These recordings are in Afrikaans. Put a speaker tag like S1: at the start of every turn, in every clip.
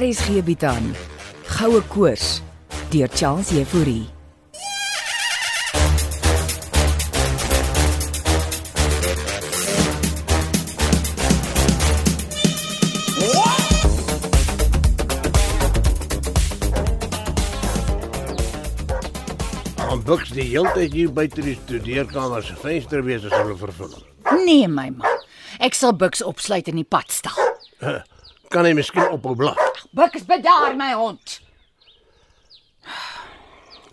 S1: RSG bied aan Goue Koors deur Charles Euphorie.
S2: Om buks die heeltyd hier buite die studeerkamer se venster wees as hulle vervul.
S3: Nee, my man. Ek sal Buks opsluit in die padstal.
S2: Kan hy miskien ophou blaf?
S3: Buks bedaar my hond.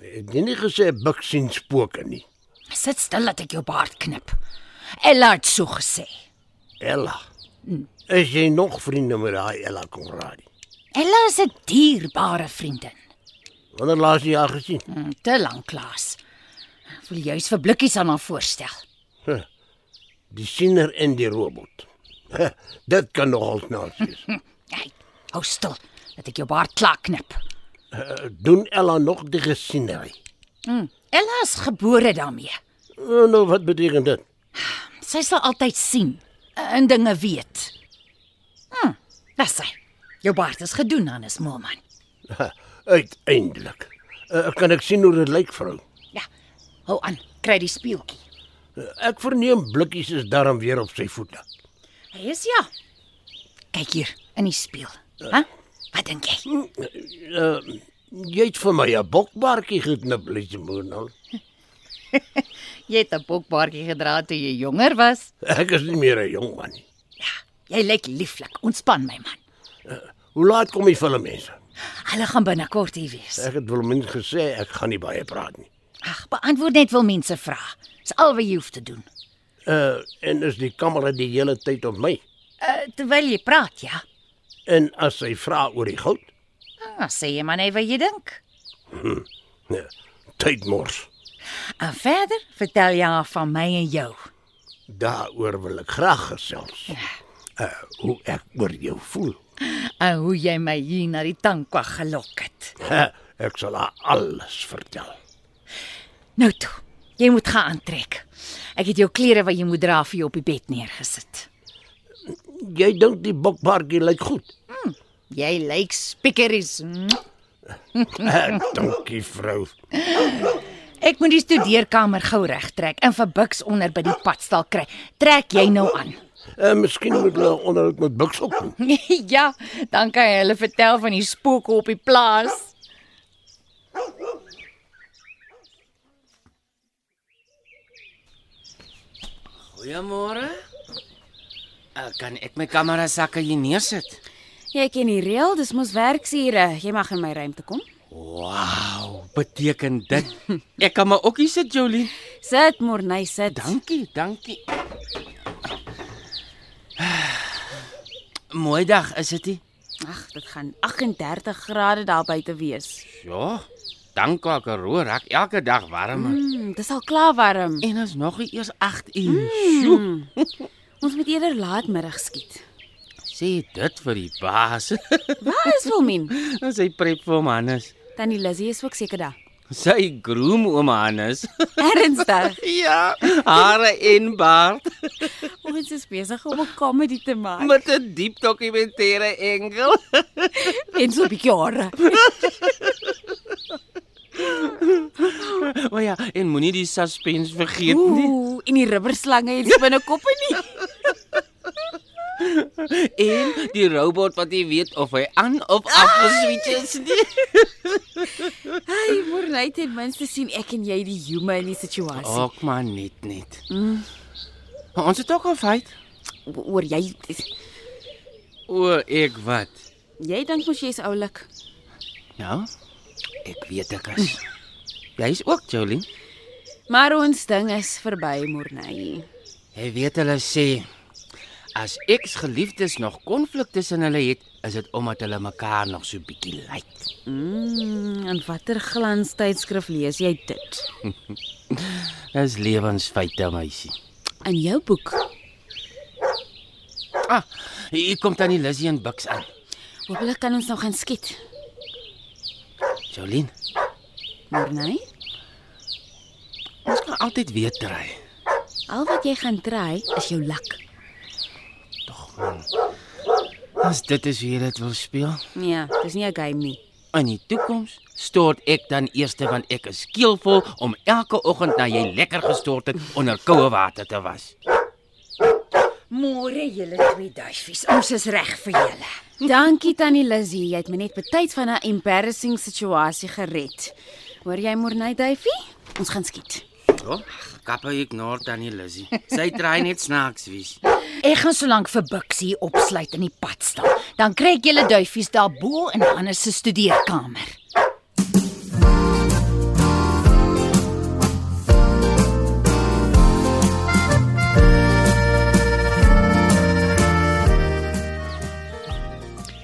S2: Het jy nie gesê buks sien spooke nie?
S3: Sit stil laat ek jou baard knip. Ella het so gesê.
S2: Ella. Is jy nog vriende met daai Ella Konradi?
S3: Ella is 'n dierbare vriendin.
S2: Wanneer laas jy haar gesien?
S3: Hm, Te lank klaas. Ek wil juis vir blikkies aan haar voorstel.
S2: Die siener en die robot. Dit kan nogal snaaks wees.
S3: Hey, hou stil laat ek jou baard klaar knip.
S2: Eh, Doen Ella nog die gesienery?
S3: Hm, Ella is gebore daarmee.
S2: Nou, nou, wat beteken dit?
S3: Sy sal altyd sien en dinge weet. Hm, dis sy. Jou baard is gedoen, Hannes Moelman.
S2: Uiteindelik. Uh, kan ek sien hoe dit lyk, vrou?
S3: Ja. Hou aan, kry die speeltjie.
S2: Ek Eh, verneem blikkies is darm weer op sy voete.
S3: Hy is ja. Kyk hier in die spieël. Hæ? Wat dink jy?
S2: Jy het vir my 'n bokbaartjie geknip, Lisiemoenal.
S3: Jy het 'n bokbaartjie gedra toe jy jonger was.
S2: Ek is nie meer 'n jong man nie.
S3: Ja, jy lyk lieflik. Ontspan my man.
S2: Hoe laat kom die filmmense?
S3: Hulle gaan binnekort hier wees.
S2: Ek het wel min gesê ek gaan nie baie praat nie.
S3: Ag, beantwoord net wil mense vra. Dis al wat jy hoef te doen.
S2: Uh en is die kamera die hele tyd op my.
S3: Uh, terwyl jy praat, ja.
S2: En as sy vra oor die goud,
S3: Dan Ah, sê jy maar net wat jy dink.
S2: nee, tyd mors.
S3: En verder vertel jy haar van my en jou.
S2: Daaroor wil ek graag gesels. Uh hoe ek oor jou voel.
S3: En hoe jy my hier na die tankwa gelok het.
S2: Ha, ek sal haar alles vertel.
S3: Nou toe, jy moet gaan aantrek. Ek het jou klere wat jy moet dra vir jou op die bed neergesit.
S2: Jy dink die bokbaartjie lyk goed.
S3: Jy lyk hm? spikkeries.
S2: Eh, Dankie vrou.
S3: Ek moet die studeerkamer gou regtrek en vir Buks onder by die padstal kry. Trek jy nou aan.
S2: Uh, miskien moet hulle onderhoud met Buks op doen.
S3: ja, dan kan jy hulle vertel van die spooke op die plaas.
S4: Goeiemôre. Uh, kan ek my kamera sakke hier neersit?
S5: Jy ken die reël, dis mos werksure. Jy mag in my ruimte kom.
S4: Wow, beteken dit ek kan my okkie sit, Jolie.
S5: Sit, Morney, sit.
S4: Dankie, dankie. Mooi dag, is dit nie?
S5: Ag, dit gaan 38 grade daar buite wees.
S4: Ja. Dankie, Karoo, raak elke dag warmer. Mm.
S5: Mm, dis al klaar warm.
S4: En ons nog nie eers 8 uur. Mm. Sjoe.
S5: Ons moet eerder laatmiddag skiet.
S4: Sê dit vir die baas.
S5: Waar is Wilmien?
S4: Ons hy prep vir hom Hannes.
S5: Tannie Lizzie is ook seker daar.
S4: Sy groom oom Hannes.
S5: Ernstig.
S4: ja, hare en baard.
S5: Ons is besig om 'n komedie te maak.
S4: met 'n diep dokumentêre engel.
S5: Mens op die jare.
S4: Maar ja, en moenie die suspense vergeet nie.
S5: Ooh, en die rubberslange het binne koppe nie.
S4: En die robot wat nie weet of hy aan of af geswitch is nie.
S5: Hy Morney ten minste sien ek en jy die humor in die situasie.
S4: Ook maar net net. Maar ons het ook al feit.
S5: O- Oor jy
S4: O, ek wat?
S5: jy dink mos jy's oulik.
S4: Ja. Ek weet ek is. Jy's ook Jolien.
S5: Maar ons ding is verby, Morney.
S4: Jy weet hulle sê as eks geliefdes nog konflik tussen hulle het, is dit omdat hulle mekaar nog so bietjie lyk.
S5: Mm, en watter glanstydskrif lees jy dit?
S4: Dis lewensfeite, meisie.
S5: In jou boek.
S4: Ah, hier kom tannie Lizzie en Bux aan.
S5: Hoopelik kan ons nou gaan skiet.
S4: Jolien,
S5: Morney,
S4: ons kan altyd weer try.
S5: al wat jy gaan try is jou lak.
S4: Tog man. As dit is hoe jy dit wil speel.
S5: Nee, dis nie 'n game nie.
S4: In die toekoms stort ek dan eers want ek is keelvol om elke oggend na jy lekker gestort het onder koue water te was.
S3: Môre julle twee duifies. Ons is reg vir julle.
S5: Dankie Tannie Lizzie, jy het my net betyds van 'n embarrassing situasie gered. Hoor jy Morney Duifie? Ons gaan skiet.
S4: Ja, kappa ignoor tannie Lizzy. Sy draai net snaaks wies.
S3: Ek gaan solank vir Bixie opsluit in die pad staan. Dan kry ek julle duifies daarbo in Hannes se studeerkamer.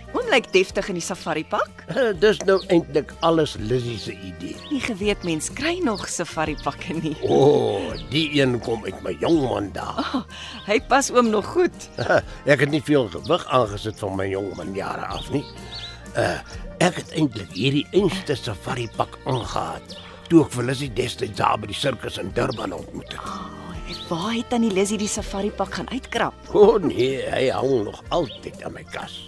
S6: Hom lyk deftig in die safari pak.
S2: Dis nou eintlik alles Lizzy se idee.
S6: Nie geweet mens kry nog safari pakke nie.
S2: O, oh, die een kom uit my jong man dae.
S6: Oh, hy pas oom nog goed.
S2: Ek het nie veel gewig aangesit van my jong man jare af nie. Uh, ek het eintlik hierdie einste safari pak aangetree toe ek vir Lizzy destyds daar by die sirkus in Durban ontmoet het.
S6: En waar het tannie Lizzy die safari pak gaan uitkrap?
S2: O oh, nee, hy hang nog altyd aan my kas.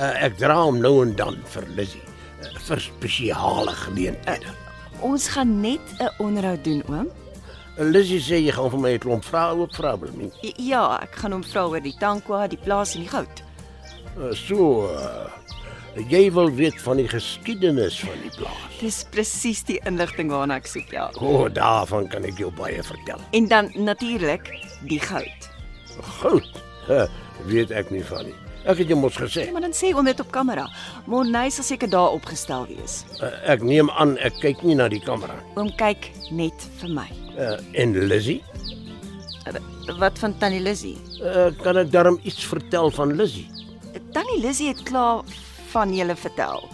S2: Uh, ek dra hom nou en dan vir Lizzy uh, vir spesiale geleenthede.
S6: Ons gaan net 'n onderhoud doen, oom.
S2: Uh, Lizzy sê jy gaan vir my 'n klomp vrae ook vra oor my.
S6: J- Ja, ek gaan hom vra oor die tankwa, die plaas en die goud.
S2: Uh, so uh, jy wil weet van die geskiedenis van die plaas.
S6: Dis presies die inligting waarna ek soek, ja.
S2: O, oh, daarvan kan ek jou baie vertel.
S6: En dan natuurlik die goud.
S2: Goud. Huh, eh, weet ek nie van nie. Ek het jou mos gesê.
S6: Ja, maar dan sê oom dit op kamera. Monnay sal seker daar opgestel wees.
S2: Uh, ek neem aan ek kyk nie na die kamera.
S6: Oom kyk net vir my.
S2: Uh, en Lizzy,
S6: Wat van tannie Lizzy?
S2: uh, kan ek darm iets vertel van Lizzy?
S6: Tannie Lizzy het klaar van julle vertel.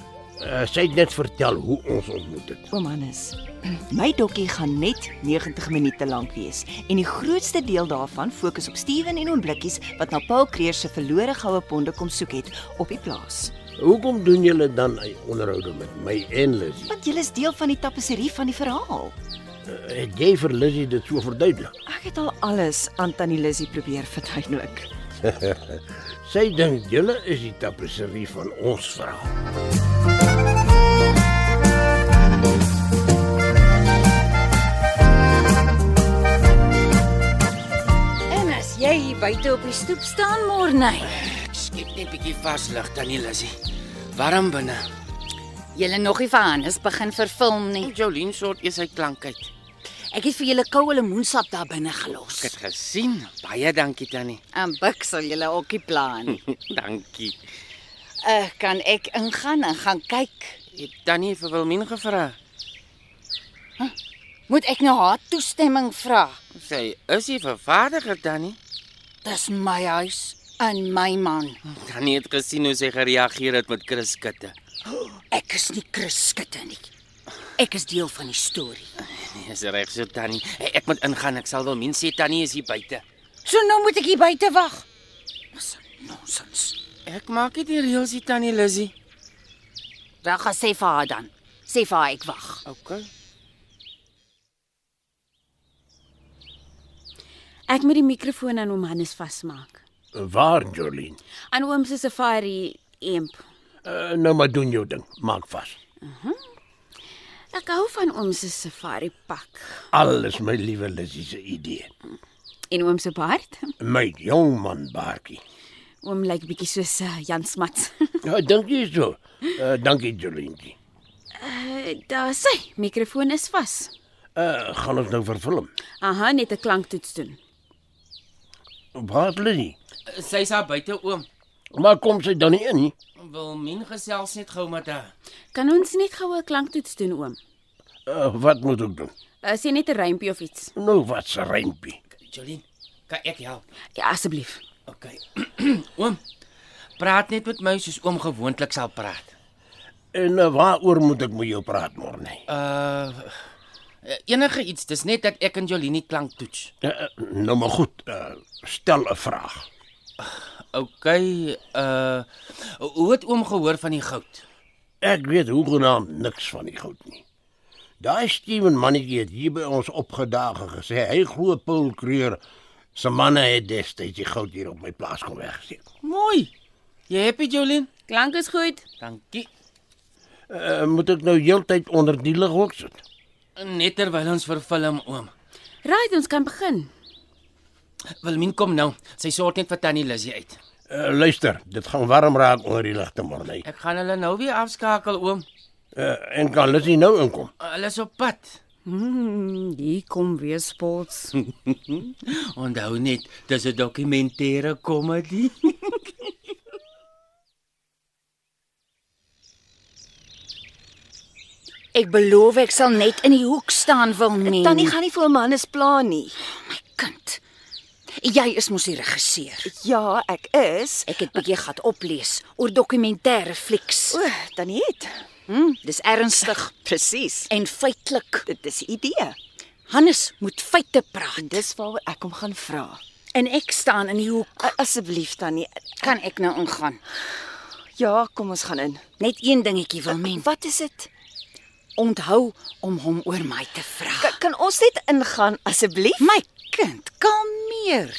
S2: Uh, sy het net vertel hoe ons ontmoet het.
S6: Oom Hannes, my dokkie gaan net 90 minute lank wees en die grootste deel daarvan fokus op Steven en hom blikkies wat na Paul Kreer se verlore goue ponde kom soek het op die plaas.
S2: Hoekom doen julle dan 'n onderhoude met my en Lizzy?
S6: Want julle is deel van die tapisserie van die verhaal.
S2: Uh, het jy vir Lizzy dit so verduidelik?
S6: Ek het al alles aan tannie Lizzy probeer verduidelik.
S2: Sy dink julle is die tapisserie van ons verhaal.
S3: En as jy hier buite op die stoep staan môre,
S4: Skep net 'n bietjie vaslig tannie Lizzy. Warm binne.
S3: julle nog nie vir Hannes begin verfilm nie.
S4: Jolien sort eers sy klank uit.
S3: Ek het vir julle koue lemoensap daar binne gelos.
S4: Ek het gesien. Baie dankie tannie.
S3: En Bixie julle ookie plan.
S4: dankie.
S3: Ek kan ek ingaan en gaan kyk.
S4: Het tannie vir Wilmien gevra?
S3: Moet ek nou haar toestemming vra?
S4: Sy is die vervaardiger tannie.
S3: Dis my huis en my man.
S4: Tannie het gesien hoe sy gereageer het met Chris Kitte.
S3: Ek is nie kruskutte nie. Ek is deel van die storie.
S4: Nee, is reg so tannie. Ek moet ingaan. Ek sal Wilmien sê tannie is hier buite.
S3: So nou moet ek hier buite wag. Dis nonsens.
S4: Ek maak dit die reëls hier tannie Lizzy.
S3: Dan gaan sê vir haar dan. Sê vir haar ek wag.
S4: Okay.
S5: Ek moet die mikrofoon aan oom Hannes vasmaak.
S2: Waar, Jolien?
S5: Aan oom se safari imp.
S2: Uh, nou maar doen jou ding. Maak vas.
S5: Ek hou van oom se safari pak
S2: Alles my liewe Lizzy se idee.
S5: en oom se baard.
S2: My jong man baartjie.
S5: Oom lyk bietjie soos eh, Jan Smuts.
S2: Ja, dankie so. Uh, dankie Jolientjie.
S5: Eh, Daar sê, mikrofoon is vas.
S2: Uh, gaan ons nou verfilm.
S5: Aha, net 'n klanktoets doen.
S2: Waar bly jy?
S4: Sy's daar buite oom.
S2: Maar kom sy dan nie in nie?
S4: Wilmien gesels net gou met haar.
S5: Kan ons net gou 'n klanktoets doen, oom?
S2: Uh, wat moet ek doen?
S5: Uh, sê net 'n rympie of iets.
S2: Nou wat se rympie.
S4: Jolien, kan ek help?
S5: Ja, asseblief.
S4: OK. oom, praat net met my soos oom gewoonlik sal praat.
S2: En uh, waaroor moet ek met jou praat môre nie?
S4: Uh enige iets, dis net dat ek en Jolien nie klank toets.
S2: Uh, nou maar goed, uh, stel 'n vraag.
S4: OK, uh hoe het oom gehoor van die goud?
S2: Ek weet hoegenaamd niks van die goed nie. Daai Steven mannetjie het hier by ons opgedaag en gesê hy glo Paul Kreur se manne het destyds die goud hier op my plaas kom weggesteek.
S4: Mooi. Jy happy Jolien?
S5: Klank is goed.
S4: Dankie.
S2: Uh, moet ek nou heeltyd onder die lig hok sit?
S4: Net terwyl ons vir film oom.
S5: Right, ons kan begin.
S4: Wilmien kom nou. Sy sort net vir Tannie Lizzie uit.
S2: Uh, luister, dit gaan warm raak onder die ligte môre.
S4: Ek gaan hulle nou weer afskakel oom.
S2: Uh, en kan Lissy nou inkom?
S4: Hulle is op pad.
S5: Hmm, hier kom weer spots.
S4: Onthou net, dis 'n dokumentêre komedie.
S7: Ek beloof ek sal net in die hoek staan wil nie.
S6: Tannie gaan nie vir oom Hannes pla nie.
S7: kind. Jy is mos die regisseur.
S6: Ja, ek is.
S7: Ek het bietjie gat oplees oor dokumentêre flieks.
S6: O, tannie het.
S7: Hm, dis ernstig
S6: Presies.
S7: en feitelik.
S6: Dit is 'n idee.
S7: Hannes moet feite praat
S6: En dis waaroor ek hom gaan vra.
S7: en ek staan in die hoek.
S6: A- Asseblief tannie.
S7: Kan ek nou ingaan?
S6: Ja, kom ons gaan in.
S7: Net een dingetjie wil men.
S6: Wat is dit?
S7: Onthou om hom oor my te
S6: Ka
S7: vra.
S6: kan ons net ingaan asseblief?
S7: My kind, kalmeer.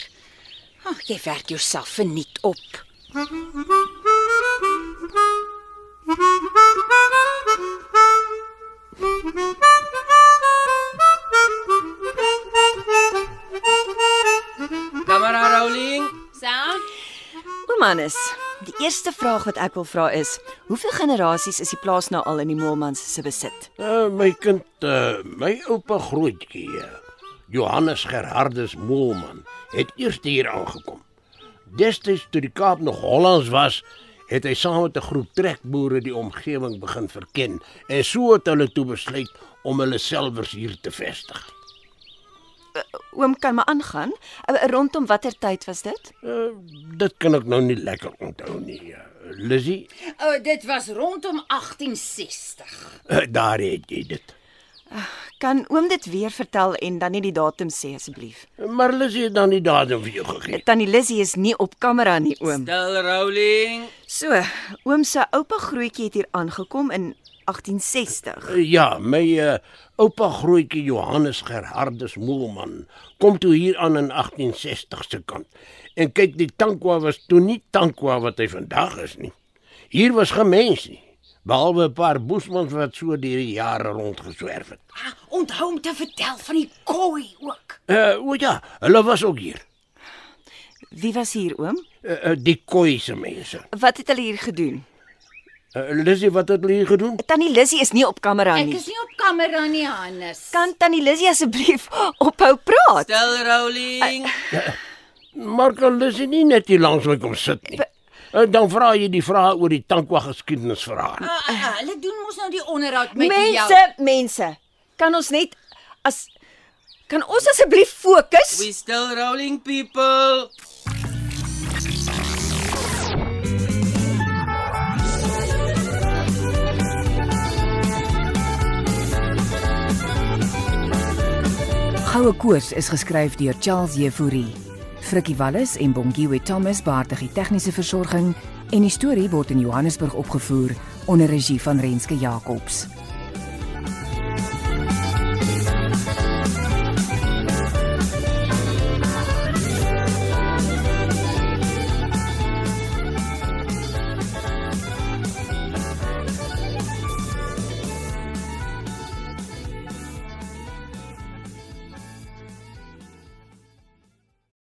S7: Ag, jy werk jouself verniet op.
S4: Kamera rolling.
S6: Oom Hannes, die eerste vraag wat ek wil vra is, hoeveel generasies is die plaas nou al in die Moelmans se besit?
S2: Uh, my kind, uh, my oupa grootjie, uh, Johannes Gerhardus Moelman, het eers hier aangekom. Destyds toe die Kaap nog Hollands was, het hy saam met 'n groep trekboere die omgewing begin verken en so het hulle toe besluit om hulle selwers hier te vestig.
S6: Oom kan maar aangaan. Uh, Rondom watter tyd was dit?
S2: Uh, dit kan ek nou nie lekker onthou nie. Uh, Lizzie,
S7: O, oh, dit was rondom 1860.
S2: uh, daar het jy dit.
S6: Kan oom dit weer vertel en dan net die datum sê asseblief?
S2: Maar Lizzie het dan nie datum vir jou gegee.
S6: Tannie Lissy is nie op kamera nie, oom.
S4: Stil rolling.
S6: So, oom se oupa grootjie het hier aangekom in 1860.
S2: Ja, my uh, oupa grootjie Johannes Gerhardus Moelman kom toe hier aan in 1860 se kant. En kyk, die tankwa was toe nie tankwa wat hy vandag is nie. Hier was gemens nie, behalwe 'n paar boesmans wat so deur die jare rondgeswerf het.
S7: Ah, onthou om te vertel van die kooi ook.
S2: Uh, o ja, hulle was ook hier.
S6: Wie was hier, oom?
S2: Uh, uh, die koise mense.
S6: Wat het hulle hier gedoen?
S2: Uh, Lizzie, wat het hulle hier gedoen?
S6: Tannie Lissy is nie op kamera nie.
S7: nie op kamera nie, Hannes.
S6: Kan Tannie Lissy asseblief ophou praat?
S4: Stil rolling.
S2: Maar kan Lizzie nie net hier langs my kom sit nie. Uh, dan vra jy die vrae oor die tankwa geskiedenis vir haar.
S7: Ah,
S5: Eh.
S7: ah, hulle doen mos nou die onderhoud met die
S6: Mense, mense, kan ons net as kan ons asseblief fokus?
S4: We still rolling people.
S1: Goue koers is geskryf deur Charles Jefouri. Frikkie Wallis en Bongiwe Thomas baartig die tegniese versorging en die storie word in Johannesburg opgevoer onder regie van Renske Jacobs.